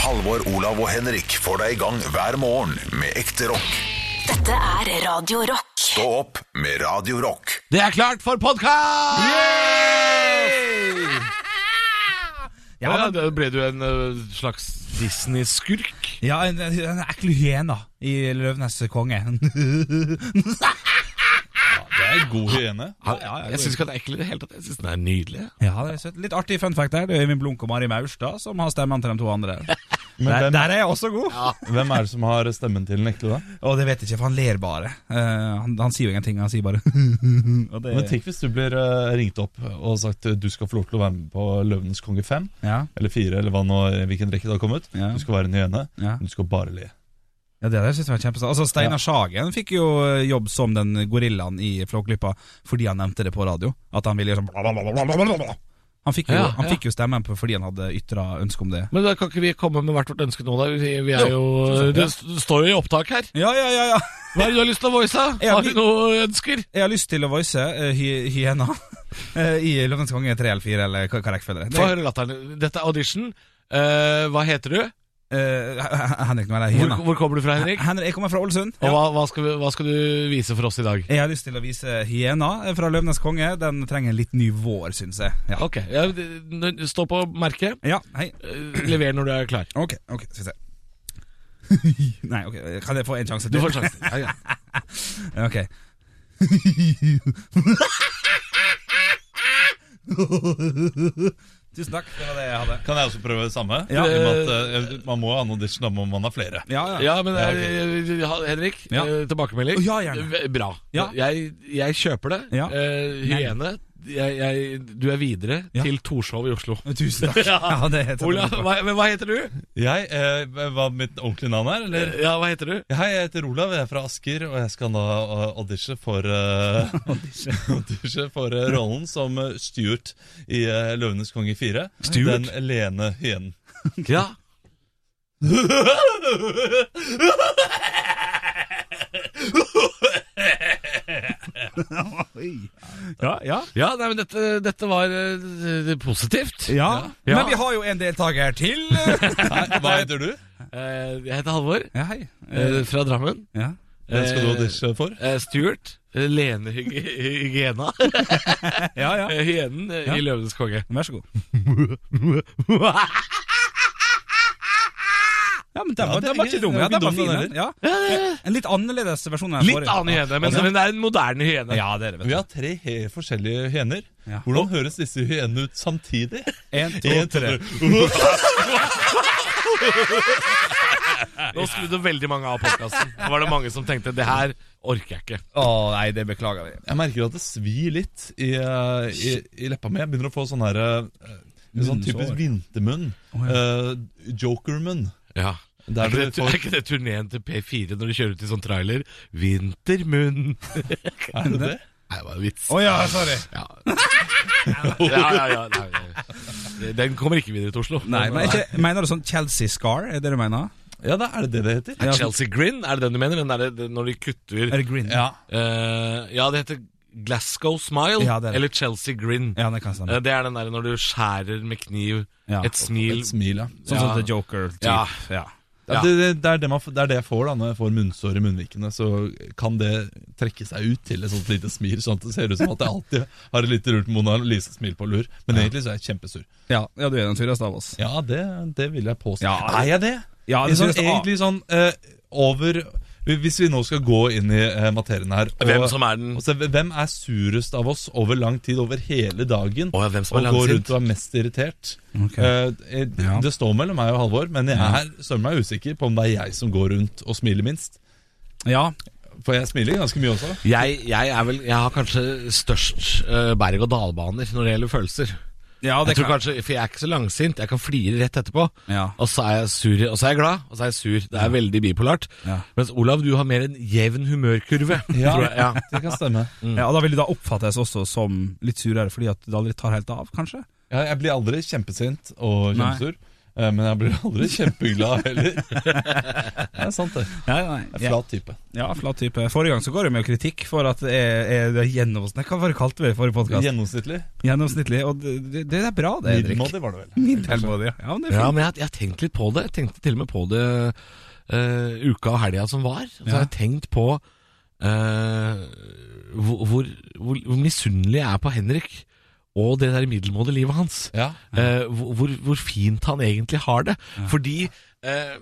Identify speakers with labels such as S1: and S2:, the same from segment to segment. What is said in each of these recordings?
S1: Halvor, Olav og Henrik får deg i gang hver morgen med ekte rock.
S2: Dette er Radio Rock.
S1: Stå opp med Radio Rock.
S3: Det er klart for podkast!
S4: Ja, men, da ble du en ø, slags Disney-skurk?
S5: ja en, en ekkel hyena i Løvenes konge.
S6: Det er god hyene.
S4: Jeg syns ikke at det er ekkelt i det hele tatt. Jeg syns den er nydelig.
S5: ja, det er søtt. Litt artig fun fact der. Det er Øyvind Blunk og Mari Maurstad som har stemmene til de to andre. Der,
S6: hvem-
S5: der er jeg også god.
S6: Hvem er det som har stemmen til den ekte, da?
S5: Og det vet jeg ikke, for han ler bare. Eh, han, han sier jo ingenting, han sier bare og det,
S6: Men Tenk hvis du blir eh, ringt opp og sagt eh, du skal få lov til å være med på Løvenes konge 5
S5: ja,
S6: eller 4, eller hva nå, eh, hvilken rekke det har kommet.
S5: Ja.
S6: Du skal være en hyene.
S5: ja.
S6: men Du skal bare le.
S5: ja, det der synes jeg var kjempestas. Altså, Steinar
S6: Ja.
S5: Sagen fikk jo eh, jobb som den gorillaen i Flåklypa fordi han nevnte det på radio. At han ville gjøre sånn blablabla. Han fikk jo,
S4: Ja,
S5: han
S4: ja.
S5: fikk jo stemmen på fordi han hadde ytra ønske om det.
S4: Men da kan ikke vi komme med hvert vårt ønske nå, da? Vi, vi er jo, det st- står jo i opptak her.
S5: Ja, ja, ja, ja.
S4: Hva er det du har lyst til å voice? da?
S5: Ja,
S4: Har
S5: vi-
S4: du noe ønsker?
S5: Jeg har lyst til å voice eh, hy hyena eh, i Løvenes konge 3 eller 4, eller hva hva rekkefølge det
S4: Få
S5: er.
S4: høre latteren. Dette er audition. Eh, hva heter du?
S5: Eh, Henrik, nå er det
S4: Hvor,
S5: hyena.
S4: hvor kommer du fra, Henrik?
S5: Henrik, jeg kommer fra Ålesund.
S4: Og hva, hva, skal, vi- hva skal du vise for oss i dag?
S5: Jeg har lyst til å vise Hyena fra Løvenes konge. Den trenger en litt ny vår, syns jeg. Ja.
S4: Ok, ja, d- n- Stå på merket.
S5: ja, hei.
S4: Eh, Lever når du er klar.
S5: Ok, ok, skal vi se. Nei, ok, kan jeg få en sjanse til?
S4: Du får sjansen. Ja, ja.
S5: Ok. Tusen takk, det var det jeg hadde.
S6: Kan jeg også prøve det samme?
S5: Ja.
S6: I og med at, eh, man må ha en audition da må man ha flere.
S5: Ja, ja.
S4: Ja, men eh, ha- Henrik,
S5: Ja.
S4: eh, tilbakemelding.
S5: Ja, gjerne.
S4: V- Bra.
S5: Ja.
S4: Jeg, jeg kjøper det.
S5: Ja.
S4: Eh, hyene, jeg, jeg, du er videre
S5: Ja.
S4: til Torshov i Oslo.
S5: Tusen takk. Ja, det heter
S4: Olav, hva, men hva heter du? Eh.
S6: Jeg, eh, Hva mitt ordentlige navn er, eller?
S4: Ja, hva heter du?
S6: Hei, jeg heter Olav, jeg er fra Asker, og jeg skal da eh, audition for eh, audition for eh, rollen som eh, Stuart i eh, Løvenes konge 4.
S5: Stuart?
S6: Den lene hyenen.
S4: Ja.
S5: Ja, ja.
S4: Ja, nei, men dette, dette var eh, positivt.
S5: Ja.
S4: Ja.
S5: Men vi har jo en deltaker til.
S6: Hei, hva heter du?
S4: Eh, jeg heter Halvor,
S5: Ja, hei. Eh,
S4: eh, fra Drammen.
S5: Ja.
S6: Den skal du
S4: Eh,
S6: audition for?
S4: eh, Stuart. eh, Lene Hyg- Hygiena.
S5: ja, ja.
S4: eh, Hyenen eh,
S5: Ja.
S4: i Løvenes konge.
S5: Vær så god. Ja, men den,
S6: Ja,
S5: var-
S6: det er
S5: den var
S6: ikke-
S5: ikke dum.
S6: det
S5: Ja,
S6: var
S5: den
S6: ikke
S5: var
S6: dum,
S5: fin.
S6: den
S5: Den. Ja. En litt annerledes versjon enn den
S4: Litt annen hyene, men, men det er en moderne hyene.
S5: Ja, det er det,
S6: Vi
S5: vet du.
S6: har tre helt forskjellige hyener.
S5: Ja.
S6: Hvordan høres disse hyenene ut samtidig?
S5: En, to,
S6: En,
S5: tre.
S4: Nå skrudde veldig mange av podkasten. Da var det mange som tenkte det her orker jeg ikke.
S5: Å nei, det beklager vi.
S6: Jeg merker at det svir litt i, eh, i, i leppa mi. Jeg begynner å få sånn her eh, en Sånn typisk
S5: Munnsår.
S6: vintermunn. Eh, Jokermunn.
S4: Ja.
S6: Der
S4: er, ikke
S6: du
S4: det,
S6: får-
S4: er ikke det turneen til P4 når de kjører ut i sånn trailer? Vintermunn. Nei,
S6: Er det det?
S4: det var en vits.
S5: Å ja, sorry.
S4: Ja. Ja, ja, ja, nei. Den kommer ikke videre til Oslo.
S5: Nei, men ikke, Mener du sånn Chelsea Scar? Er det det du mener?
S6: Ja, da er det det det heter.
S5: Ja,
S4: Chelsea Grin, er det den du mener? Den der, den når de kutter
S5: Er det Green?
S6: Ja.
S4: Eh, Ja, det heter Glasgow Smile
S5: Ja, det er det.
S4: eller Chelsea Grin.
S5: Ja, det kan
S4: Eh,
S5: stemme.
S4: Det er den der når du skjærer med kniv
S5: Ja.
S4: et smil
S6: Et smil, ja.
S5: Sånn som The Joker-type.
S4: Ja.
S5: Ja. Ja.
S4: Ja.
S6: ja. Det, det, det, er det, man, f- det er det jeg får da når jeg får munnsår i munnvikene. Så kan det trekke seg ut til et sånt lite smil, sånn at det ser ut som at jeg alltid har et lite rult Mona Lise-smil på lur. Men egentlig så er jeg kjempesur.
S5: Ja. du er den sureste av oss.
S6: Ja, det, det vil jeg påstå.
S5: Ja.
S6: er jeg det?
S5: Ja,
S6: det
S5: det
S6: sånn,
S5: synes jeg-
S4: ah.
S6: egentlig sånn eh, over Hvis vi nå skal gå inn i eh, materien her og,
S4: Hvem som er den
S6: og se, hvem er surest av oss over lang tid, over hele dagen?
S4: Å ja, hvem som er
S6: og går
S4: langsint?
S6: rundt og er mest irritert.
S5: Ok.
S6: Eh, eh,
S5: Ja.
S6: Det står mellom meg og Halvor, men jeg er søren meg usikker på om det er jeg som går rundt og smiler minst.
S5: Ja.
S6: For jeg smiler ganske mye også.
S4: Jeg, jeg, er vel, jeg har kanskje størst eh, berg-og-dal-baner når det gjelder følelser.
S5: ja
S4: jeg tror kanskje, For jeg er ikke så langsint. Jeg kan flire rett etterpå.
S5: Ja.
S4: Og så er jeg sur, og så er jeg glad, og så er jeg sur. Det er veldig bipolart.
S5: Ja.
S4: Mens Olav, du har mer en jevn humørkurve. Tror jeg. Ja.
S6: det kan stemme.
S5: ja, og Da vil du da oppfattes også som litt surere, fordi at det aldri tar helt av, kanskje?
S6: Ja, jeg blir aldri kjempesint og
S5: Nei.
S6: kjempesur. Eh, Eh, Men jeg blir aldri kjempeglad heller. Det er sant, det.
S5: Ja, nei,
S6: Jeg er
S5: ja.
S6: flat type.
S5: ja, flat type. Forrige gang så går det med kritikk for at jeg, jeg, det er gjennomsnittlig Hva var det kalt vi i forrige podkast?
S6: Gjennomsnittlig.
S5: Gjennomsnittlig. Og det, det, det er bra, det, Henrik.
S6: Middelmådig var det vel.
S5: Middelmådig, ja. ja, men det er
S4: Ja,
S5: fint.
S4: men jeg, jeg har tenkt litt på det. Jeg tenkte til og med på det eh, uka og helga som var. Så har jeg tenkt på eh, hvor, hvor, hvor, hvor misunnelig jeg er på Henrik og det der middelmådige livet hans.
S6: Ja.
S4: Eh, hvor, hvor- hvor fint han egentlig har det. Fordi eh,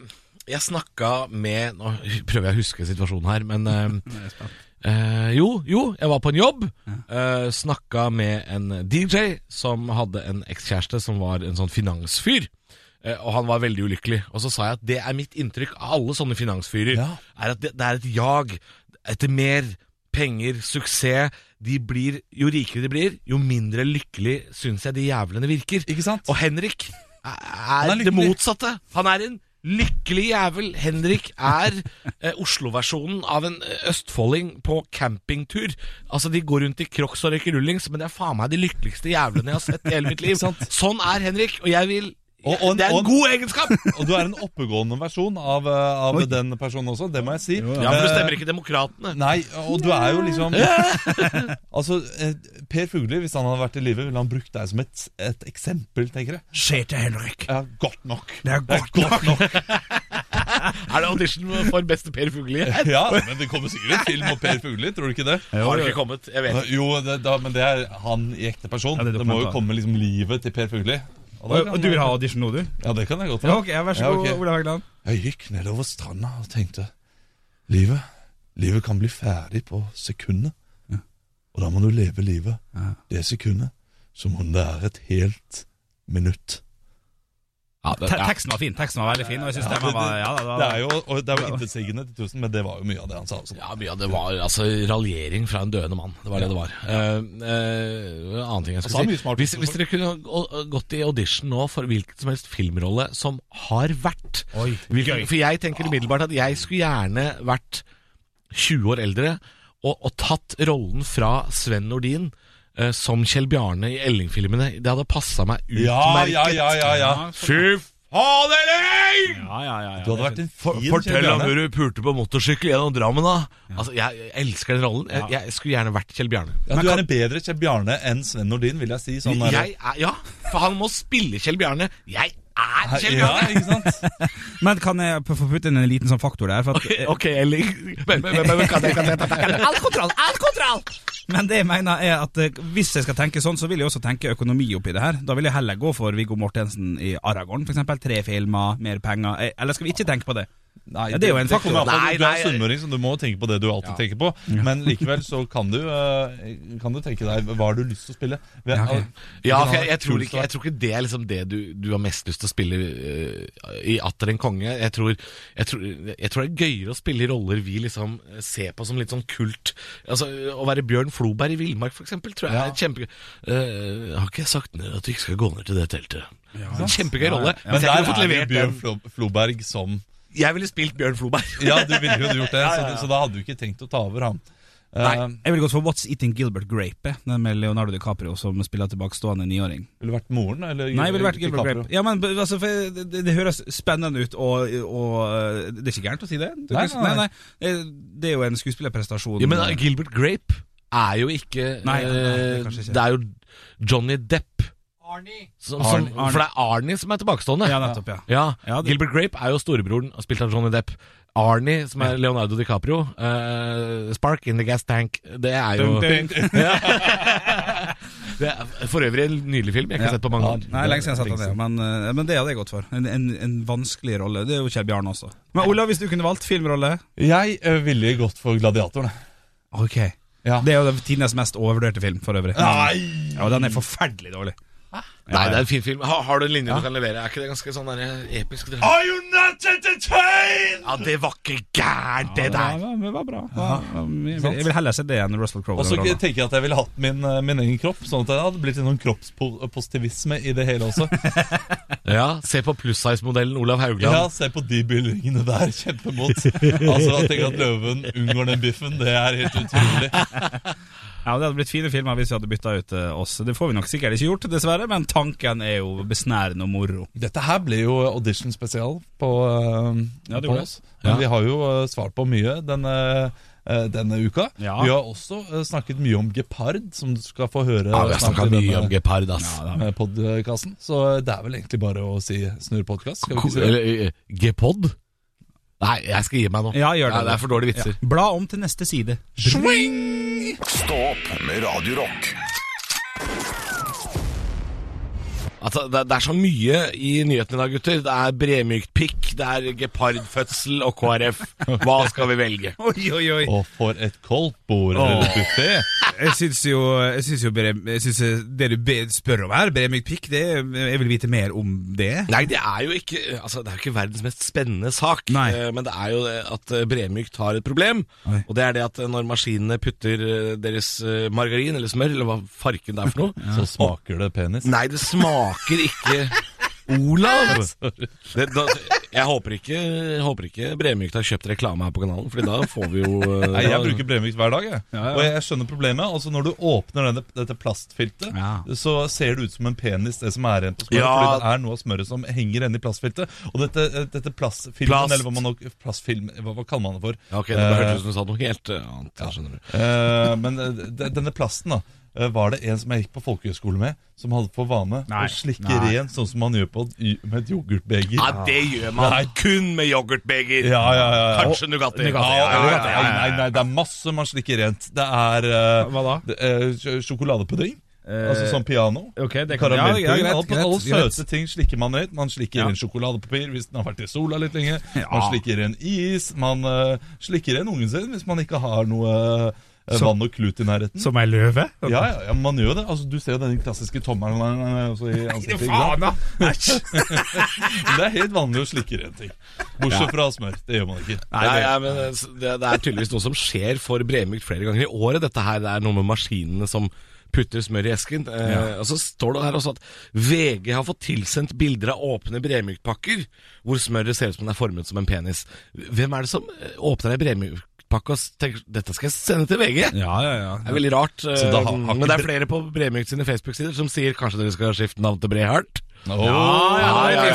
S4: jeg snakka med Nå prøver jeg å huske situasjonen her, men eh, eh, jo, jo, jeg var på en jobb. Eh, snakka med en DJ som hadde en ekskjæreste som var en sånn finansfyr. Eh, Og han var veldig ulykkelig. Og så sa jeg at det er mitt inntrykk av alle sånne finansfyrer.
S6: Ja.
S4: Er at det, det er et jag etter mer penger, suksess. De blir, jo rikere de blir, jo mindre lykkelig syns jeg de jævlene virker.
S6: Ikke sant?
S4: Og Henrik er, er,
S6: lykkelig.
S4: det motsatte. Han er en lykkelig jævel. Henrik er eh, Oslo-versjonen av en eh, østfolding på campingtur. Altså, de går rundt i crocs og røyker rullings, men det er faen meg de lykkeligste jævlene jeg har sett i hele mitt liv.
S6: Ikke sant?
S4: Sånn er Henrik, og jeg vil
S6: Og- og en-
S4: Det er
S6: og
S4: en
S6: en-
S4: god egenskap!
S6: Og du er en oppegående versjon av, eh, av den personen også, det må jeg si.
S4: Ja, for du stemmer ikke Demokratene.
S6: Nei, og du er jo liksom Altså, eh, Per Fugli, hvis han hadde vært i live, ville han brukt deg som et, et eksempel, tenker jeg.
S5: Se til Henrik.
S6: Ja, godt nok.
S5: Det er godt
S6: nok.
S4: Er det audition for beste Per Fugli? Har
S6: Ja, men det kommer sikkert en film om Per Fugli, tror du ikke det? Altså,
S4: det ikke kommet? Jeg vet ikke.
S6: Jo, det, da, men det er han i ekte person.
S5: Ja,
S6: det,
S5: det er
S6: må jo
S5: dokumentar.
S6: komme liksom livet til Per Fugli. Og da
S5: Og,
S6: kan-
S5: og du vil ha audition nå, du?
S6: Ja, det kan jeg godt.
S5: Ja, ok, ja, Vær så
S6: Ja,
S5: god,
S6: ok.
S5: Olav Haugland.
S6: Jeg gikk nedover stranda og tenkte Livet Livet kan bli ferdig på sekundet Og da må du leve livet Det sekundet Som om det er et helt minutt
S4: Ja, det,
S5: Te-
S4: ja.
S5: Teksten var fin, teksten var veldig fin. Og jeg synes
S6: Ja,
S5: den var,
S6: det-
S5: ja, da, da,
S6: Det er jo, og det er jo intetsiggende til tusen Men det var jo mye av det han sa også.
S4: Ja, mye av det var altså raljering fra en døende mann. Det var det det var. Eh, eh, annen ting jeg
S6: Og
S4: skulle
S6: så er Altså, det
S4: si.
S6: mye smart
S4: Hvis,
S6: også.
S4: hvis dere kunne gå- gått i audition nå for hvilken som helst filmrolle som har vært hvilken, For jeg tenker umiddelbart at jeg skulle gjerne vært 20 år eldre og, og tatt rollen fra Sven Nordin. eh, Som Kjell Bjarne i Elling-filmene. Det hadde passa meg
S6: Ja,
S4: utmerket.
S6: ja, ja, ja, ja
S4: Fy fader! Elling!
S5: ja, ja, ja, ja.
S6: Du hadde vært en
S4: For,
S6: fin
S4: fortell
S6: Kjell
S4: om
S6: Bjarne.
S4: hvor du pulte på motorsykkel gjennom Drammen, da. Altså, jeg, jeg elsker den rollen. Jeg, jeg skulle gjerne vært Kjell Bjarne.
S6: ja, Du er en bedre Kjell Bjarne enn Sven Nordin Vil jeg si sånn der-
S4: Jeg er, ja, for han må spille Kjell Bjarne. Jeg er Kjell
S6: ja,
S4: Bjarne!
S6: ikke sant?
S5: Men kan jeg p- få putte inn en liten sånn faktor der? For at,
S4: Ok, Elling. Men, men, men, men, kan jeg- kan jeg- kan jeg- kan jeg- All kontroll! All kontroll!
S5: Men det jeg mener er at eh, hvis jeg skal tenke sånn, så vil jeg også tenke økonomi oppi det her. Da vil jeg heller gå for Viggo Mortensen i Aragorn, for eksempel. Tre filmer, mer penger. Eh, Eller skal vi ikke tenke på det?
S6: Nei,
S5: Ja, det er jo en faktor.
S6: kommer an på at
S4: Nei,
S6: du er
S4: nei.
S6: sunnmøring, så du må tenke på det du alltid tenker på. Men likevel så kan du, eh, kan du tenke deg hva har du lyst til å spille. Hvem-
S5: Ja, ok.
S4: Ja, for jeg, jeg, tror ikke, jeg tror ikke det er liksom det du, du har mest lyst til å spille eh, i Atter en konge. Jeg tror, jeg, tror, jeg tror det er gøyere å spille i roller vi liksom eh, ser på som litt sånn kult. Altså, Å være Bjørn Floberg i Villmark, for eksempel, tror jeg
S6: Ja.
S4: er kjempegøy. Eh, har ikke jeg sagt ned at du ikke skal gå ned til det teltet? Det er en Kjempegøy rolle.
S6: Men
S4: Hvis jeg
S6: der
S4: kunne fått
S6: er
S4: levert
S6: det Bjørn
S4: den
S6: Flo Floberg som
S4: Jeg ville spilt Bjørn Floberg.
S6: Ja, du ville jo gjort det, Så, så da hadde du ikke tenkt å ta over ham.
S4: Nei.
S6: Uh,
S5: Jeg ville gått for What's Eating Gilbert Grape, eh, den med Leonardo DiCaprio som spiller tilbakestående niåring.
S6: ville du vært moren, eller?
S5: Nei, jeg ville vært Gilbert
S6: DiCaprio?
S5: Grape. Ja, men b- altså, for jeg- det, det høres spennende ut, og, og eh, Det er ikke gærent å si det? Det,
S6: Nei,
S5: nei, nei,
S6: nei,
S5: Eh, det er jo en skuespillerprestasjon.
S4: Ja, men eh, Gilbert Grape er jo ikke
S5: Nei,
S4: eh,
S5: nei, det er kanskje ikke.
S4: Det er jo Johnny Depp. Som, som,
S5: Arnie. Arnie.
S4: For det er Arnie som er tilbakestående.
S5: ja, nettopp, ja.
S4: Ja,
S5: Ja, det-
S4: Gilbert Grape er jo storebroren, spilt av Johnny Depp. Arnie, som er Leonardo DiCaprio. eh, Spark in the gas tank. Det er jo
S5: Dun, dun.
S4: det er for øvrig en nydelig film. Jeg har ikke
S5: Ja.
S4: sett på mange
S6: Ja,
S4: år.
S5: Nei, lenge siden jeg satte han ned, men, eh, men det hadde jeg gått for. En, en, en vanskelig rolle. Det er jo Kjell Bjarne også. Men Olav, hvis du kunne valgt filmrolle
S6: Jeg eh, ville gått for Gladiatoren. jeg.
S5: Ok
S6: Ja.
S5: Det er jo tidenes mest overvurderte film, for øvrig.
S6: Nei!
S5: Ja, og den er forferdelig dårlig.
S4: Nei, det er en fin film. Ha, har du en linje du kan levere? Er ikke det ganske sånn der episk? drama?
S6: Are you not entertained?
S4: Ja, det var ikke gærent, det
S5: Ja,
S4: der!
S5: det var- det var bra. Jeg vil- Jeg vil heller se det enn Russell Crowe.
S6: Og så
S5: i den rollen.
S6: tenker jeg at jeg ville hatt min, eh, min egen kropp, sånn at jeg hadde blitt en sånn kroppspositivisme i det hele også.
S4: Ja, Se på plussize-modellen Olav Haugland.
S6: Ja, se på de bygningene der, kjempemot. Altså, Tenk at løven unngår den biffen, det er helt utrolig.
S5: Ja, Det hadde blitt fine filmer hvis vi hadde bytta ut eh, oss. Det får vi nok sikkert ikke gjort, dessverre, men tanken er jo besnærende og moro.
S6: Dette her ble jo audition spesial på, eh,
S5: Ja, det
S6: på
S5: gjorde
S6: oss. Men
S4: Ja.
S6: vi har jo eh, svart på mye denne, eh, denne uka.
S5: Ja.
S6: Vi har også eh, snakket mye om gepard, som du skal få høre.
S4: Ja, vi har snakka mye om
S6: gepard.
S4: gepard, ass.
S6: Podkasten. eh, Så eh, det er vel egentlig bare å si snurr podkast. Skal vi ikke si det?
S4: Eller eh, gepod? Nei, jeg skal gi meg nå.
S5: Ja, gjør det.
S4: Nei, det er for dårlige vitser.
S5: Bla om til neste side.
S1: Stå opp med Radio Rock.
S4: Altså, det, det er så mye i nyhetene i dag, gutter. Det er bremykt pikk, det er gepardfødsel og KrF. Hva skal vi velge?
S5: Oi, oi, oi.
S6: Og for et koldtbord eller buffé.
S5: Jeg syns jo, jeg syns jo Bre- jeg syns eh, det du be- spør om her, Bremyk Pikk, det, jeg vil vite mer om det.
S4: Nei, det er jo ikke, altså, det er jo ikke verdens mest spennende sak,
S5: Nei.
S4: eh, men det er jo det at eh, Bremykt har et problem.
S5: Oi.
S4: Og det er det at eh, når maskinene putter eh, deres eh, margarin eller smør, eller hva farken det er for noe
S6: Så smaker det penis.
S4: Nei, det smaker ikke Olav! Det, da, jeg håper ikke, jeg håper ikke Bremykt har kjøpt reklame her på kanalen, Fordi da får vi jo eh,
S6: Nei,
S4: da-
S6: jeg bruker Bremyk hver dag, jeg.
S5: Ja, ja.
S6: og jeg skjønner problemet. Altså Når du åpner denne, dette plastfiltet,
S5: Ja.
S6: så ser det ut som en penis, det som er igjen på smøret.
S4: Ja.
S6: Fordi det er noe av smøret som henger igjen i plastfiltet. Og dette, dette plastfilmen,
S4: Plast.
S6: eller hva, man, nå- plastfilm, hva, hva kaller man det for?
S4: Ja, Ok, det bare hørtes ut som du sa noe helt eh, annet. jeg skjønner du.
S6: Eh, men eh, de- denne plasten, da. eh, Var det en som jeg gikk på folkehøyskole med, som hadde for vane
S5: Nei.
S6: å slikke
S5: Nei.
S6: ren, sånn som man gjør på, et- med et yoghurtbeger?
S4: Ja, det gjør man kun med yoghurtbeger.
S6: Ja, ja, ja, ja.
S4: Kanskje Nugatti.
S6: Ja, ja, ja, ja, Nei, nei, nei, det er masse man slikker rent. Det er eh,
S5: Hva da?
S6: det er sj- sjokoladepudding.
S5: Eh,
S6: altså sånn piano.
S5: ok, det kan-
S6: Karamellpudding.
S5: ja, ja, greit,
S6: alt,
S5: greit,
S6: alle
S5: greit.
S6: søte ting slikker man rent. Man slikker
S5: Ja.
S6: inn sjokoladepapir hvis den har vært i sola litt lenge.
S5: Ja.
S6: Man slikker inn is. Man eh, slikker inn ungen sin hvis man ikke har noe eh,
S5: Så-
S6: vann og klut i nærheten.
S5: Som ei løve?
S6: Ja, ja, ja, man gjør jo det. Altså, du ser jo den klassiske tommelen eh, også i ansiktet. ikke sant?
S5: Faen, da! Æsj.
S6: Det er helt vanlig å slikke rent ting. Bortsett fra smør. Det gjør man ikke.
S4: Nei, nei, men eh, s- det, det er tydeligvis noe som skjer for Bremykt flere ganger i året. Dette her det er noe med maskinene som putter smør i esken. Eh, Og så står det her også at VG har fått tilsendt bilder av åpne Bremykt-pakker hvor smøret ser ut som den er formet som en penis. Hvem er det som eh, åpner ei Bremykt-pakke og s- tenker dette skal jeg sende til VG?
S5: Ja, ja, ja.
S4: Det er veldig rart. eh,
S6: Så da har- har ikke
S4: men det er
S6: Bre-
S4: flere på Bremykt sine Facebook-sider som sier kanskje dere skal skifte navn til Brehart.
S6: Åh.
S5: ja, ja, ja,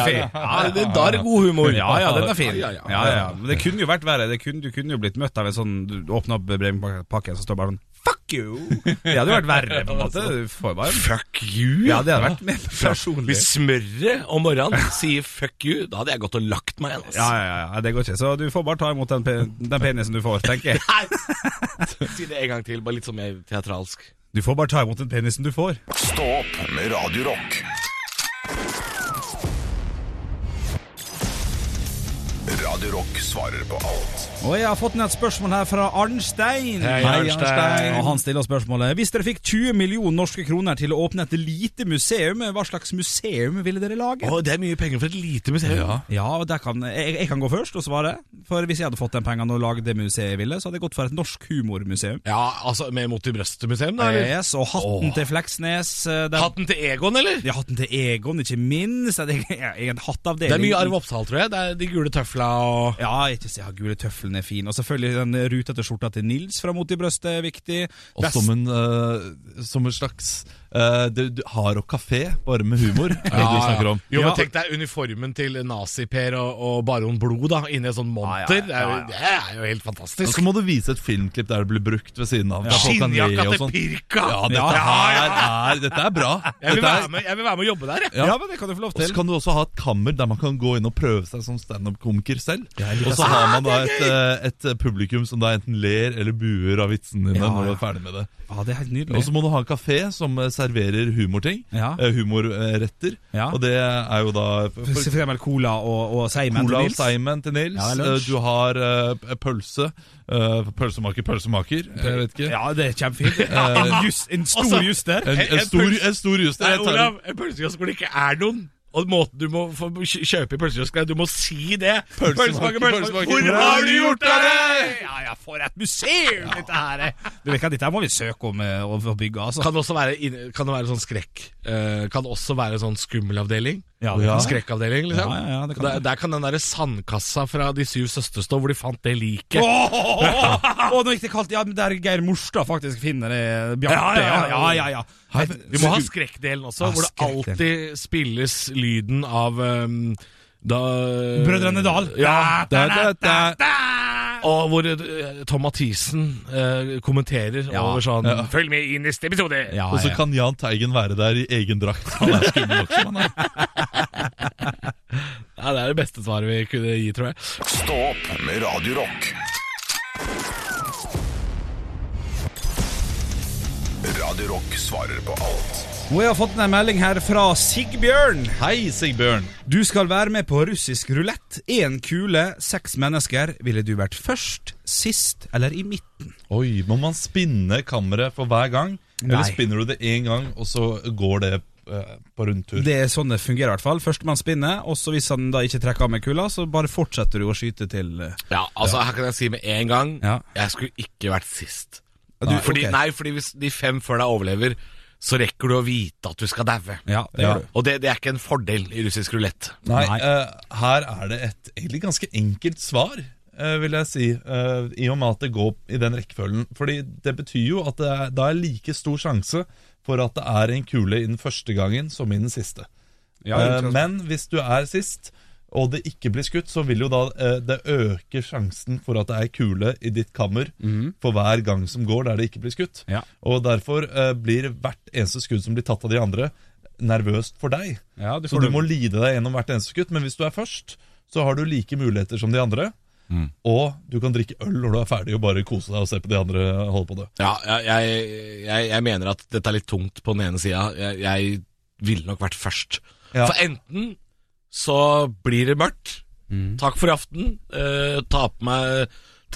S5: ja.
S4: Ja, det, da er det god humor.
S5: Ja, ja, den er fin.
S4: Ja, ja, ja.
S5: Men det kunne jo vært verre. Det kunne, du kunne jo blitt møtt av en sånn Du åpner opp brevpakken, så står det bare sånn Fuck you! Det hadde jo vært verre, på en måte. Du får bare
S4: Fuck you!
S5: Ja, det hadde vært mer personlig.
S4: Hvis smøret om morgenen sier 'fuck you', da hadde jeg gått og lagt meg igjen. ass.
S5: Ja, ja, ja, det går ikke. Så du får bare ta imot den, pe den penisen du får, tenker jeg.
S4: Nei! Si det en gang til, bare litt sånn mer teatralsk.
S5: Du får bare ta imot den penisen du får.
S1: Stå opp med Radio Rock. Radio Rock svarer på alt.
S5: Og jeg har fått inn et spørsmål her fra Arnstein.
S4: Hei, Arnstein.
S5: Og han stiller spørsmålet Hvis dere fikk 20 millioner norske kroner til å åpne et lite museum, hva slags museum ville dere lage?
S4: det er mye penger for et lite museum. Ja.
S5: Ja, og der kan, jeg, jeg kan gå først og svare. For hvis jeg hadde fått den pengene og lagd det museet jeg ville, så hadde jeg gått for et norsk humormuseum.
S4: altså Med Mot i brøstet-museum, da? eller?
S5: Yes, og hatten til Fleksnes. eh, Der,
S4: Hatten til Egon, eller?
S5: ja, hatten til Egon, ikke minst. Jeg har en hattavdeling.
S4: Det er mye Arve Oppsal, tror jeg. Det er De gule tøfla og
S5: Ja, ikke se, ja, gule tøflene er fin. Og selvfølgelig den rutete skjorta til Nils fra Mot i brøstet er viktig.
S6: Og
S5: Vest-
S6: som en, eh, som en slags uh, du, du har og kafé, bare med humor, er det du snakker om.
S4: Jo, men
S5: Ja.
S4: Tenk deg uniformen til Nazi-Per og, og Baron Blod da inni en sånn monter.
S5: Ja, ja, ja, ja.
S4: Det, er jo, det er jo helt
S6: Og
S4: fantastisk.
S6: så må du vise et filmklipp der det blir brukt ved siden av. der folk kan le
S4: Skinnjakka
S6: og
S4: til
S6: sånn.
S4: Pirka!
S6: Ja, dette, Her er, dette er bra.
S4: Jeg, vil
S6: Dette
S4: være
S6: er,
S4: med, jeg vil være med å jobbe der, jeg.
S5: ja. men det kan du få lov
S6: og så
S5: til.
S6: kan du også ha et kammer der man kan gå inn og prøve seg som standup-komiker selv. Og så har man da et, eh, et publikum som da enten ler eller buer av vitsene dine
S5: Ja,
S6: når du
S5: ja.
S6: er ferdig med det.
S5: Ja, det er helt nydelig.
S6: Og så må du ha en kafé som eh, serverer humorting.
S5: Ja.
S6: eh, Humorretter.
S5: Ja.
S6: Og det er jo da for,
S5: For eksempel cola og, og seigmenn til
S6: Cola og
S5: Nils.
S6: Simon til Nils.
S5: Ja, det er lunsj.
S6: Eh, du har eh, pølse. eh, pølsemaker, pølsemaker. Jeg vet ikke.
S5: Ja, det er kjempefint. En, jus- en stor
S4: Også-
S5: just der.
S6: Eh, altså, En,
S4: En- en
S6: en, stor,
S4: pøls-
S6: en stor just.
S4: Nei,
S6: Jeg tar-
S4: Olav, en pølsekiosk hvor det ikke er noen. Og måten du må få kj- kjøpe i pølsekiosk er at Du må si det!
S6: Pølsemaker, pølsemaker.
S4: Hvor har du gjort av det?!
S5: Ja, ja, for et museum dette her er! Du vet ikke, at dette her må vi søke om eh, å få bygge, altså.
S4: Kan det også være, inn- kan det være sånn skrekk eh, Kan det også være sånn skummelavdeling?
S5: Ja,
S6: Ja.
S4: Skrekkavdeling, liksom?
S5: Ja, ja, ja, det kan
S4: der, der kan den derre sandkassa fra De syv søstre stå, hvor de fant det liket.
S5: Åh, åh, åh, åh, åh, nå gikk det kaldt. Ja, men der Geir Morstad faktisk finner det. eh, Bjarte. Ja, ja, ja. ja,
S4: Hei, Vi må ha skrekkdelen også,
S5: Ja,
S4: hvor det
S5: skrekkdelen.
S4: alltid spilles lyden av um, da,
S5: Brødrene Dal.
S4: Ja,
S5: Da, da, da,
S4: og hvor eh, Tom Mathisen eh, kommenterer
S5: Ja.
S4: over sånn
S6: Ja.
S4: Følg med i neste episode!
S5: Ja,
S6: Og så
S5: ja.
S6: kan Jahn Teigen være der i egen drakt. Han er skummel nok som han er.
S4: Ja, det er det beste svaret vi kunne gi, tror jeg.
S1: Stå opp med Radio Rock. Radio Rock svarer på alt.
S5: Og jeg har fått en melding her fra Sigbjørn.
S6: Hei, Sigbjørn.
S5: Du skal være med på russisk rulett. Én kule, seks mennesker. Ville du vært først, sist eller i midten?
S6: Oi, må man spinne kammeret for hver gang? Eller
S5: Nei.
S6: spinner du det én gang, og så går det eh, på rundtur?
S5: Det er sånn det fungerer i hvert fall. Førstemann spinner, og så hvis han da ikke trekker av med kula, så bare fortsetter du å skyte til eh,
S4: Ja, altså Her kan jeg si med en gang
S5: Ja.
S4: jeg skulle ikke vært sist.
S5: Ja, du-
S4: fordi,
S5: ok.
S4: Nei, fordi hvis de fem før deg overlever, så rekker du å vite at du skal daue.
S5: Ja, det
S6: Ja.
S5: gjør du.
S4: Og det, det er ikke en fordel i russisk rulett.
S6: Nei,
S5: Nei.
S6: eh, her er det et egentlig ganske enkelt svar, eh, vil jeg si. eh, I og med at det går i den rekkefølgen. Fordi det betyr jo at det er, da er like stor sjanse for at det er en kule i den første gangen som i den siste.
S5: Ja,
S6: Eh,
S5: ikke sant?
S6: men hvis du er sist, og det ikke blir skutt, så vil jo da eh, det øke sjansen for at det er kule i ditt kammer for hver gang som går der det ikke blir skutt.
S5: Mhm. Ja.
S6: Og derfor eh, blir hvert eneste skudd som blir tatt av de andre, nervøst for deg.
S5: Ja, du
S6: så
S5: får
S6: du
S5: det.
S6: må lide deg gjennom hvert eneste skudd. Men hvis du er først, så har du like muligheter som de andre. Og du kan drikke øl når du er ferdig, og bare kose deg og se på de andre holde på det.
S4: Ja, jeg, jeg, jeg, jeg mener at dette er litt tungt på den ene sida. Jeg, jeg ville nok vært først.
S6: Ja.
S4: For enten så blir det mørkt. Takk for i aften. eh, ta på meg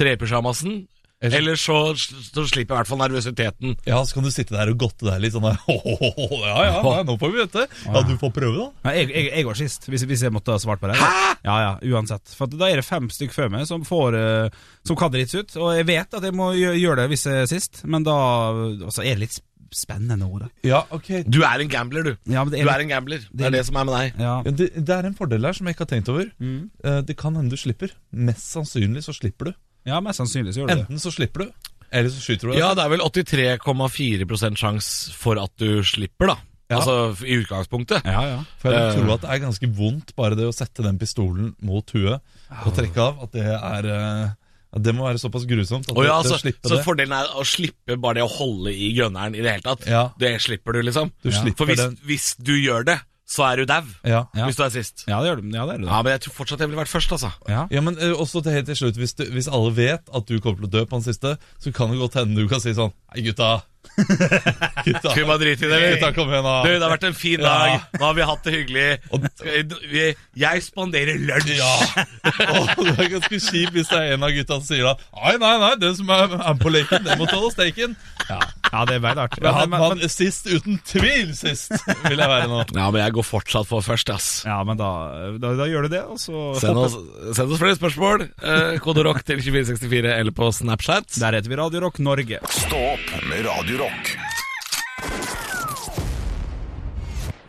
S4: trepysjamasen.
S6: Eller-
S4: Eller så, så slipper jeg i hvert fall nervøsiteten.
S6: Ja, Så kan du sitte der og godte deg litt sånn der. Ja, ja, ja, nå får vi vite. Ja, du får prøve, da.
S5: Ja, jeg, jeg, jeg går sist, hvis, hvis jeg måtte ha svart på det. Hæ? Ja, ja, uansett. For at da er det fem stykk før meg som, får, eh, som kan drits ut. Og jeg vet at jeg må gjø- gjøre det hvis jeg er sist, men da Og så er det litt sp- spennende nå, da.
S6: Ja, ok
S4: Du er en gambler, du.
S5: Ja, men det
S4: Du
S5: er,
S4: er en gambler. Det er det som er med deg.
S5: ja.
S6: Ja, Det, det er en fordel her som jeg ikke har tenkt over. Eh, Det kan hende du slipper. Mest sannsynlig så slipper du.
S5: ja, mest sannsynlig så gjør du det.
S6: Enten så slipper du, eller så skyter du. deg.
S4: Ja, det er vel 83,4 sjanse for at du slipper, da.
S6: Ja.
S4: Altså i utgangspunktet.
S5: Ja, ja.
S6: For jeg
S4: Eh.
S6: tror at det er ganske vondt bare det å sette den pistolen mot huet
S4: Ah.
S6: og trekke av. At det er eh, at Det må være såpass grusomt at
S4: Å ja,
S6: det,
S4: så,
S6: det å altså, slippe
S4: så
S6: det.
S4: fordelen er å slippe bare det å holde i grønneren i det hele tatt.
S6: Ja.
S4: Det slipper du, liksom.
S6: Du
S4: For
S6: slipper
S4: hvis,
S6: den.
S4: hvis du gjør det, så er du dau.
S6: Ja.
S5: Ja.
S4: Hvis du er sist.
S5: Ja, det gjør du. Ja, det er du.
S4: Ja, men jeg tror fortsatt jeg ville vært først, altså.
S5: Ja.
S6: ja, men eh, også til helt til slutt hvis, du, hvis alle vet at du kommer til å dø på den siste, så kan det godt hende du kan si sånn Hei, gutta. gutta.
S4: Skal vi bare drite i det,
S6: Gutta,
S4: eller?
S6: kom igjen,
S4: Du, det
S6: da.
S4: har vært en fin dag. Nå har vi hatt det hyggelig. Skal vi- vi- Jeg spanderer lunsj.
S6: Ja. Og det er ganske kjipt hvis det er en av gutta som sier da Nei, nei, nei, den som er, er på leken, den må tåle steken.
S5: Ja. ja, det er veldig artig.
S6: Men
S5: Ja,
S6: han,
S5: men,
S6: han,
S5: men,
S6: sist, uten tvil sist, vil jeg være nå.
S4: Ja, men jeg går fortsatt for først, ass.
S5: ja, men da, da, da gjør du det, og så
S4: Send
S5: håper-
S4: oss, send oss flere spørsmål. Eh, kode rock til 2464 eller på Snapchat.
S5: Der heter vi Radio Rock Norge.
S1: Stå opp med Radio Rock.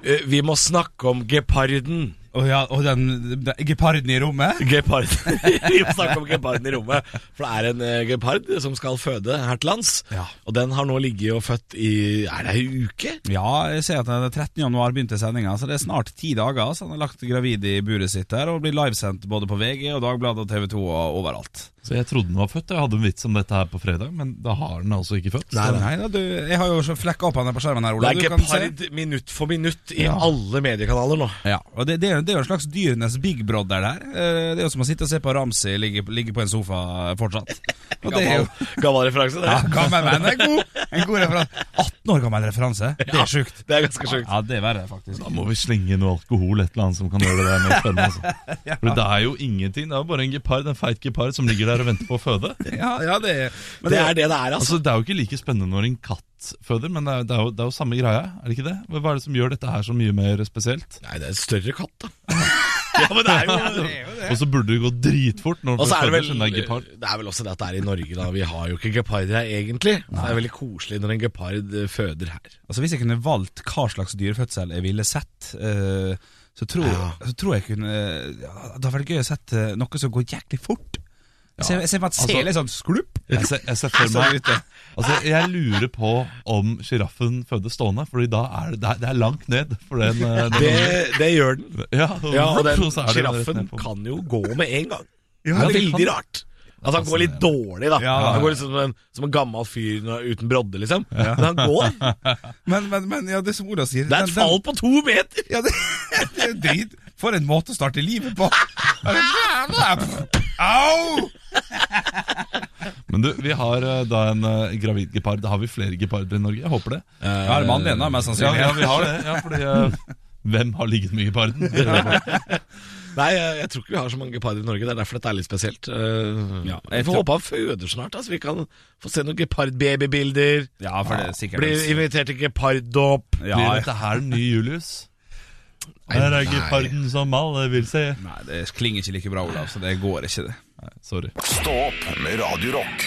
S4: Eh, vi må snakke om geparden.
S5: Og, ja, og den, den geparden i rommet?
S4: Gepard. Vi må snakke om geparden i rommet. For det er en eh, gepard som skal føde her til lands.
S5: Ja.
S4: Og den har nå ligget og født i Er det ei uke?
S5: Ja, jeg ser at den 13. januar begynte sendinga, så det er snart ti dager. Så han har lagt gravid i buret sitt der, og blir livesendt både på VG og Dagbladet og TV 2 og overalt.
S6: Så Jeg trodde den var født, jeg hadde en vits om dette her på fredag, men da har den altså ikke født.
S5: Nei, nei, da, du, jeg har jo så flekka opp han der på skjermen her,
S4: Det
S5: Ola.
S4: er
S5: Du kan se.
S4: gepard minutt for minutt i alle mediekanaler nå.
S5: Ja, og det, det, er jo- det er jo en slags dyrenes big brother der. Eh, Det er jo som å sitte og se på Ramsi ligge, ligge på en sofa fortsatt. Og det er jo
S4: Gammel, gammel referanse, det.
S5: ja, gammel venn, en god, en god referanse. 18 år gammel referanse, det er sjukt.
S4: Det er ganske sjukt.
S5: Ja, det er verre, faktisk.
S6: Da må vi slenge noe alkohol, et eller annet som kan gjøre det der mer spennende. Altså. For det er jo ingenting, det er jo bare en gepard, en feit gepard som ligger der og venter på å føde.
S5: Ja, ja, det er, men
S4: Det er det det er, altså.
S6: Altså, det er jo ikke like spennende når en katt kattføder, men det er, det, er jo, det er jo samme greia, er det ikke det? Hva hva er det som gjør dette her så mye mer spesielt?
S4: Nei, det er en større katt, da.
S6: Ja, men det er jo det. Og så burde det gå dritfort når
S4: Og
S6: det
S4: så er det
S6: føder,
S4: vel
S6: siden det er gepard.
S4: Det er vel også det at det er i Norge, da. Vi har jo ikke gepard her, egentlig. Så det er veldig koselig når en gepard eh, føder her.
S5: Altså Hvis jeg kunne valgt hva slags dyrefødsel jeg ville sett, eh, så, tror, så tror jeg kunne ja, Det hadde vært gøy å sett eh, noe som går jæklig fort. Jeg ser- Jeg ser for meg at
S6: Altså-
S5: selen er sånn sklupp.
S6: Jeg ser, jeg ser for meg Altså, jeg lurer på om sjiraffen føder stående, Fordi da er det, det er- det er langt ned. For den, eh, den-
S4: Det, det gjør den.
S6: ja,
S4: Ja, og den
S6: så er det rett ned
S4: sjiraffen
S6: på-
S4: kan jo gå med en gang. det
S5: Ja,
S4: er
S5: det kan-
S4: veldig rart. Altså Han går litt dårlig, da.
S5: Ja, ja, ja.
S4: Han går litt som en, som en gammel fyr nå- uten brodde, liksom. Men han går.
S5: Men, men, men ja, det som Ola sier
S4: Det er et fall på to meter!
S5: Ja, det, det er drit. For en måte å starte livet på! Au!
S6: Men du, vi har eh, da en eh, gravid gepard. Da har vi flere geparder i Norge. Jeg håper det.
S5: Ja, er det mannen din, da, mest
S6: Eh, Ja,
S5: sannsynlig.
S6: ja vi har det. Ja, fordi eh, hvem har ligget med geparden?
S4: Nei, jeg, jeg tror ikke vi har så mange geparder i Norge. Det er derfor dette er litt spesielt. Eh,
S5: Ja,
S4: vi får
S5: jeg tror-
S4: håpe han føder snart, da, så vi kan få se noen gepardbabybilder.
S5: Ja, for det er sikkert
S4: Bli invitert til geparddåp.
S5: ja,
S6: Blir dette her den nye Julius?
S4: Nei,
S6: Her
S4: nei.
S6: er geparden som alle vil se.
S5: Nei, det klinger ikke like bra, Olav, så det går ikke, det.
S6: Sorry.
S1: Stå opp med Radio Rock.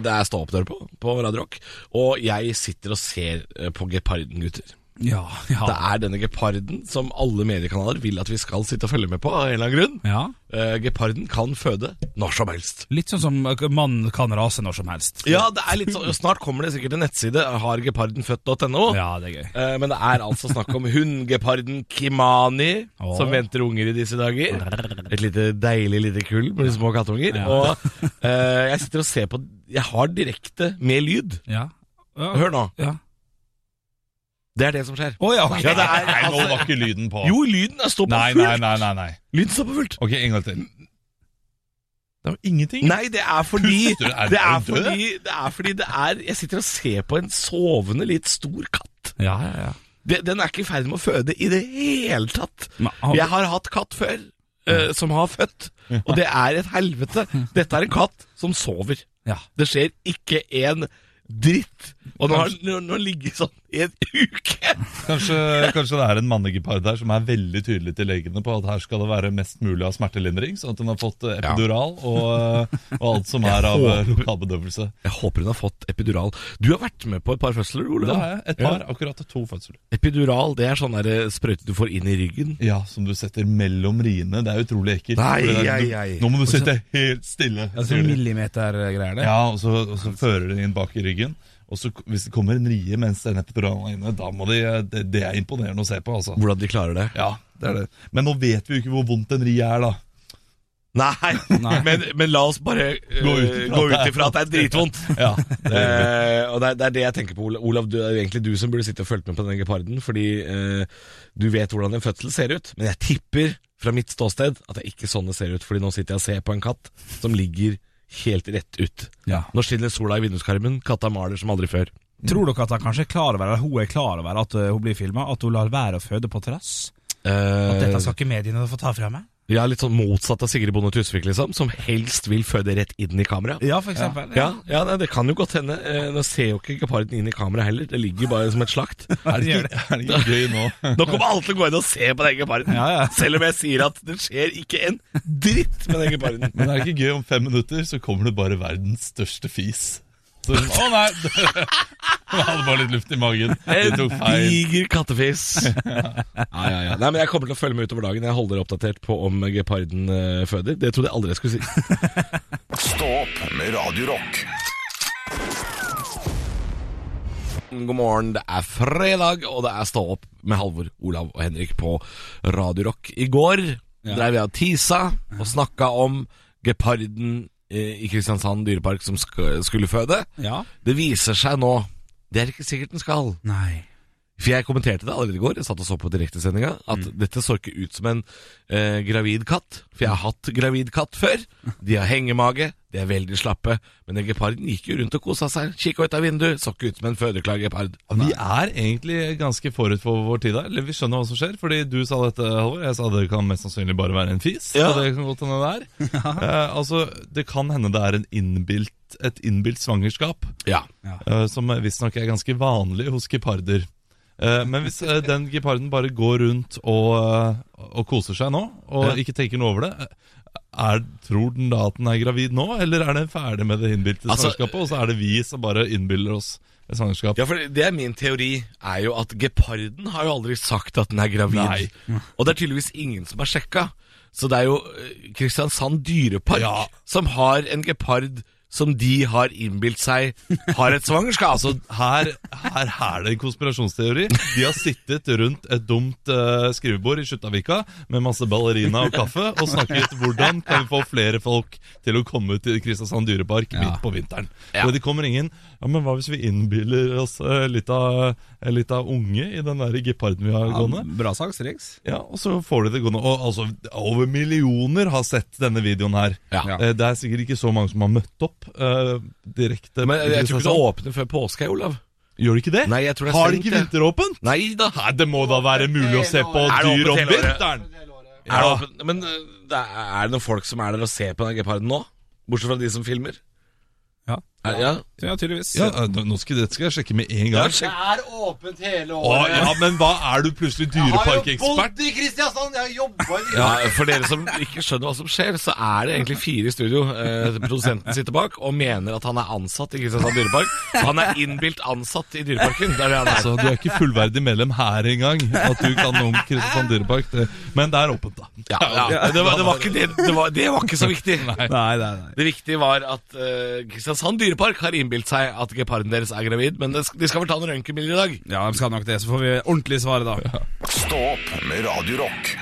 S4: Det er stå opp dør på, på Radio Rock. Og jeg sitter og ser eh, på geparden, gutter.
S5: Ja, ja.
S4: Det er denne geparden som alle mediekanaler vil at vi skal sitte og følge med på, av en eller annen grunn.
S5: ja.
S4: Eh, geparden kan føde når som helst.
S5: Litt sånn som mann kan rase når som helst.
S4: Ja, det er litt sånn, Snart kommer det sikkert en nettside, hargepardenfødt.no.
S5: Ja, det er gøy.
S4: Eh, Men det er altså snakk om hundgeparden Kimani,
S5: Åh.
S4: som venter unger i disse dager. Et lite deilig lite kull med de små kattunger. Og eh, jeg sitter og ser på Jeg har direkte med lyd.
S5: Ja. Ja.
S4: Hør nå.
S5: Ja.
S4: Det er det som skjer.
S5: Å ja, ok.
S4: Ja, det er,
S6: Nei, nå
S4: altså,
S6: var ikke lyden på.
S4: jo, lyden er- står på
S6: Nei, nei,
S4: fullt!
S6: nei, nei, nei.
S4: Lyden står på fullt.
S6: Ok, en gang til. Det var ingenting.
S4: Nei, det er fordi
S6: Puster du? Er
S4: det
S6: du
S4: er
S6: død?
S4: fordi, det er fordi det er Jeg sitter og ser på en sovende, litt stor katt.
S5: ja, ja, ja.
S4: Det- Den er ikke i ferd med å føde i det hele tatt.
S5: Men ah, han-
S4: Jeg har hatt katt før eh, som har født, og det er et helvete. Dette er en katt som sover.
S5: ja.
S4: Det skjer ikke en dritt. Og nå har nå- nå har den ligget sånn i en uke.
S6: Kanskje, kanskje det er en mannegepard der som er veldig tydelig til legene på at her skal det være mest mulig av smertelindring, sånn at den har fått eh, epidural og, eh, og alt som er av eh, lokalbedøvelse.
S4: Jeg håper hun har fått epidural. Du har vært med på et par fødsler,
S6: Da
S4: Olav.
S6: har jeg et par, akkurat to fødsler.
S4: Epidural det er sånn der, eh, sprøyte du får inn i ryggen.
S6: Ja, som du setter mellom riene. Det er utrolig ekkelt.
S4: Nei,
S6: For det er-
S4: ei,
S6: du-
S4: ei.
S6: Nå må du sitte helt stille.
S5: Det er
S6: sier
S5: sånn
S6: de.
S5: millimetergreier, det.
S6: Ja, og så, og så fører de inn bak i ryggen. Og så k- hvis det kommer en rie mens den epiduralen er inne, da må de eh, Det, det er imponerende å se på, altså.
S4: Hvordan de klarer det.
S6: Ja, det er det. Men nå vet vi jo ikke hvor vondt en rie er, da.
S4: Nei, Men, men la oss bare eh,
S6: Gå ut
S4: gå
S6: ifra at det
S4: ut
S6: er-
S4: ifra at det er dritvondt.
S6: Ja, det er
S4: Eh, og det er, det er det jeg tenker på, Olav. Olav du, det er jo egentlig du som burde sitte og følge med på denne geparden, fordi eh, du vet hvordan en fødsel ser ut. Men jeg tipper fra mitt ståsted at det er ikke sånn det ser ut, Fordi nå sitter jeg og ser på en katt som ligger helt rett ut.
S5: Ja.
S4: Nå skinner sola i vinduskarmen, katta maler som aldri før.
S5: Tror dere at han kanskje er klar over Eller hun er klar over at øh, hun blir filma? At hun lar være å føde på terrass?
S4: Eh,
S5: At dette skal ikke mediene få ta fra meg?
S4: ja, litt sånn motsatt av Sigrid Bonde Tusvik, liksom, som helst vil føde rett inn i kameraet.
S5: Ja, for eksempel.
S4: Ja, ja nei, det kan jo godt hende. Eh, Nå ser jo ikke geparden inn i kameraet heller. Det ligger jo bare som et slakt.
S6: Er det ikke, er det ikke gøy nå?
S4: Nå kommer alle til å gå inn og se på den geparden.
S5: Ja, ja.
S4: Selv om jeg sier at det skjer ikke en dritt med den geparden.
S6: Men er det ikke gøy om fem minutter, så kommer det bare verdens største fis. Så sånn, å nei, det- Jeg hadde bare litt luft i magen. Vi
S4: En
S6: tok feil.
S4: diger kattefis. Ja, ja, ja. Nei, men Jeg kommer til å følge med utover dagen. Jeg holder dere oppdatert på om geparden eh, føder. Det trodde jeg aldri jeg skulle si.
S1: Stå opp med Radio Rock.
S4: God morgen, det er fredag, og det er Stå opp med Halvor, Olav og Henrik på Radio Rock. I går dreiv jeg og tisa og snakka om geparden eh, i Kristiansand dyrepark som sk- skulle føde.
S5: Ja.
S4: Det viser seg nå Det er ikke sikkert den skal.
S5: Nei.
S7: For jeg kommenterte det allerede i går, jeg satt og så på direktesendinga, at dette så ikke ut som en eh, gravid katt. For jeg har hatt gravid katt før. De har hengemage, de er veldig slappe. Men den geparden gikk jo rundt og kosa seg. Kikka ut av vinduet, så ikke ut som en fødeklar gepard.
S6: Ja, Vi er egentlig ganske forut for vår tid her. Eller vi skjønner hva som skjer. Fordi du sa dette, Halvor. Jeg sa det kan mest sannsynlig bare være en fis.
S7: Ja.
S6: Så det kan godt hende det er. Eh, altså, det kan hende det er en innbilt, et innbilt svangerskap.
S7: Ja.
S6: eh, som visstnok er ganske vanlig hos geparder. Eh, men hvis eh, den geparden bare går rundt og, eh, og koser seg nå, og
S7: Ja.
S6: ikke tenker noe over det eh, er, Tror den da at den er gravid nå, eller er den ferdig med det innbilte
S7: Altså,
S6: svangerskapet? Og så er det vi som bare innbiller oss et svangerskap.
S7: Ja, for det er min teori, er jo at geparden har jo aldri sagt at den er gravid. Og det er tydeligvis ingen som har sjekka. Så det er jo eh, Kristiansand dyrepark
S6: Ja.
S7: som har en gepard som de har innbilt seg har et svangerskap. altså,
S6: her, her er det en konspirasjonsteori. De har sittet rundt et dumt eh, skrivebord i Skjuttaviga med masse ballerina og kaffe og snakket hvordan kan vi få flere folk til å komme til Kristiansand dyrepark midt på vinteren.
S7: Ja.
S6: Og det kommer ingen Ja, men hva hvis vi innbiller oss eh, litt, av, eh, litt av unge i den der geparden vi har gående?
S5: bra salgstriks.
S6: Ja, og så får de det gående. Og altså, over millioner har sett denne videoen her.
S7: Ja.
S6: Eh, Det er sikkert ikke så mange som har møtt opp eh, direkte.
S7: men eh, jeg tror ikke det
S6: Kristiansand.
S7: åpner før påske, Olav.
S6: Gjør de ikke det?
S7: Nei, jeg tror det er
S6: har de
S7: stengt,
S6: ikke
S7: ja.
S6: vinteråpent?
S7: Nei da.
S6: Nei, det må da være mulig å se på
S7: Er det
S6: dyr om
S7: åpent hele året?
S6: vinteren!
S7: Er det åpen? Men eh, det er er det noen folk som er der og ser på den geparden nå? Bortsett fra de som filmer?
S5: Ja.
S7: Er, ja.
S5: Ja, tydeligvis.
S6: Ja, eh, nå nå skal, dette skal jeg sjekke med en
S7: Ja,
S6: gang.
S7: sjekk.
S8: Det er åpent hele
S6: Å,
S8: året.
S6: ja, men hva er du plutselig
S8: Jeg har jo
S6: dyreparkekspert?
S8: bodd i Kristiansand! Jeg har jobba i
S7: Ja, For dere som ikke skjønner hva som skjer, så er det egentlig fire i studio. Eh, produsenten sitter bak og mener at han er ansatt i Kristiansand dyrepark. Han er innbilt ansatt i Dyreparken. Det er det han er.
S6: Altså, du er ikke fullverdig medlem her engang, at du kan noe om Kristiansand dyrepark. Det- Men det er åpent, da.
S7: Ja, ja. Det, var, det, var ikke det, det, var, det var ikke så viktig.
S5: Nei, nei, nei.
S7: Det viktige var at eh, Kristiansand dyrepark har innbilt seg at geparden deres er gravid, men det, sk- de skal vel ta noen røntgenbilder i dag.
S5: Ja, de skal nok det, så får vi ordentlig svaret da.
S1: Stå opp med Radio Rock.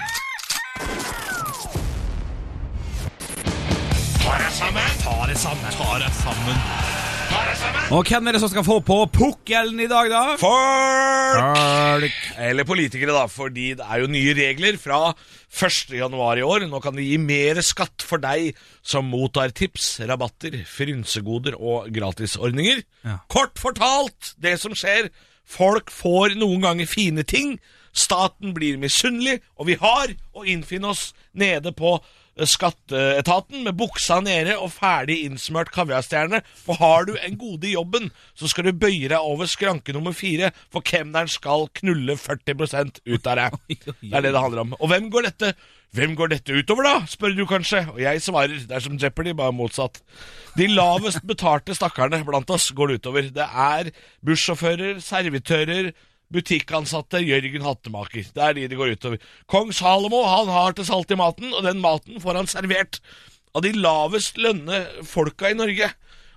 S5: Og hvem er det som skal få på pukkelen i dag, da? Folk!
S7: Eller politikere, da, fordi det er jo nye regler fra 1. januar i år. Nå kan de gi mer skatt for deg som mottar tips, rabatter, frynsegoder og gratisordninger.
S5: Ja.
S7: Kort fortalt, det som skjer, folk får noen ganger fine ting, staten blir misunnelig, og vi har å innfinne oss nede på eh, Skatteetaten med buksa nede og ferdig innsmørt kaviarstjerne. For har du en gode i jobben, så skal du bøye deg over skranke nummer fire, for kemneren skal knulle 40 ut av deg. Det er det det handler om. Og hvem går dette Hvem går dette utover, da? spør du kanskje. Og jeg svarer, det er som Jeopardy, bare motsatt. De lavest betalte stakkarene blant oss går det utover. Det er bussjåfører, servitører, butikkansatte, Jørgen Hattemaker. Det er de det går utover. Kong Salomo han har til salt i maten, og den maten får han servert av de lavest lønne folka i Norge.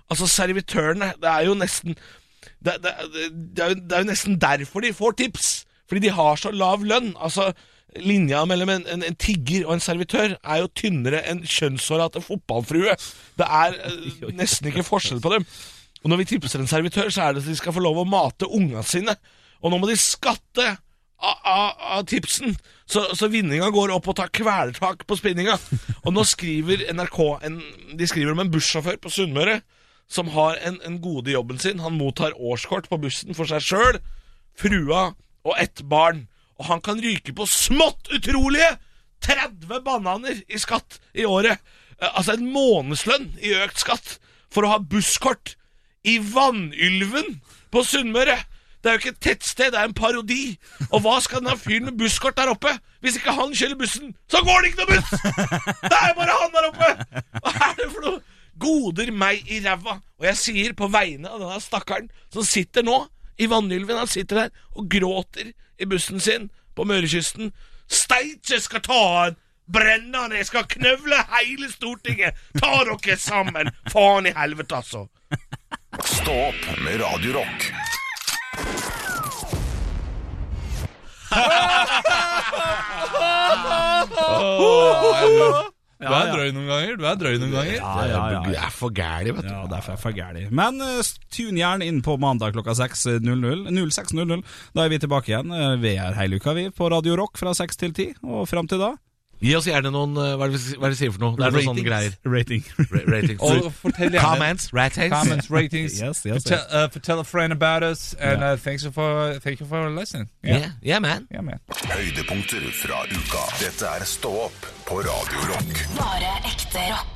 S7: Altså servitørene. Det er jo nesten det, det, det, det, er jo, det er jo nesten derfor de får tips. Fordi de har så lav lønn. Altså, Linja mellom en, en, en tigger og en servitør er jo tynnere enn kjønnshåra til fotballfrue. Det er eh, nesten ikke forskjell på dem. Og når vi tipser en servitør, så er det at de skal få lov å mate unga sine. Og nå må de skatte av, av, av tipsen. Så, så vinninga går opp og tar kvelertak på spinninga. Og nå skriver NRK en, De skriver om en bussjåfør på Sunnmøre som har en, en gode i jobben sin. Han mottar årskort på bussen for seg sjøl, frua og ett barn. Og han kan ryke på smått utrolige 30 bananer i skatt i året. Eh, Altså en månedslønn i økt skatt for å ha busskort i Vannylven på Sunnmøre. Det er jo ikke et tettsted, det er en parodi. Og hva skal den ha fyren med busskort der oppe? Hvis ikke han kjører bussen, så går det ikke noe buss! Det er bare han der oppe! Hva er det for noe? Goder meg i ræva. Og jeg sier på vegne av denne stakkaren som sitter nå i Vannylven, han sitter der og gråter i bussen sin på Mørekysten. Steitje skal ta han! Brenner han! Jeg skal knøvle hele Stortinget! Ta dere sammen! Faen i helvete, altså!
S1: Stå opp med Radio Rock.
S6: Du er drøy noen ganger. Du er drøy noen ganger.
S5: Ja, ja, ja,
S4: Du er for gæren, vet du.
S5: Ja, derfor er jeg for gærlig. Men eh, tune gjerne inn på mandag klokka 6.00. 06.00. Da er vi tilbake igjen. Eh, Vi er hele uka, vi, på Radio Rock fra 6 til 10. Og fram til da
S4: Gi oss gjerne noen eh, Hva er det vi, hva er det vi sier for noe? Det er noen sånne greier.
S5: rating.
S4: Ra- Ratings.
S7: Og fortell gjerne
S4: Comments, ratings.
S7: comments, ratings.
S5: Yes, yes,
S7: Fortell, uh, fortell a friend about us, and uh, thanks for thank you for listening. Yeah,
S4: Yeah, yeah, man.
S7: yeah man.
S1: Høydepunkter fra uka. Dette er Stå opp på Radio Rock.
S2: Bare ekte rock.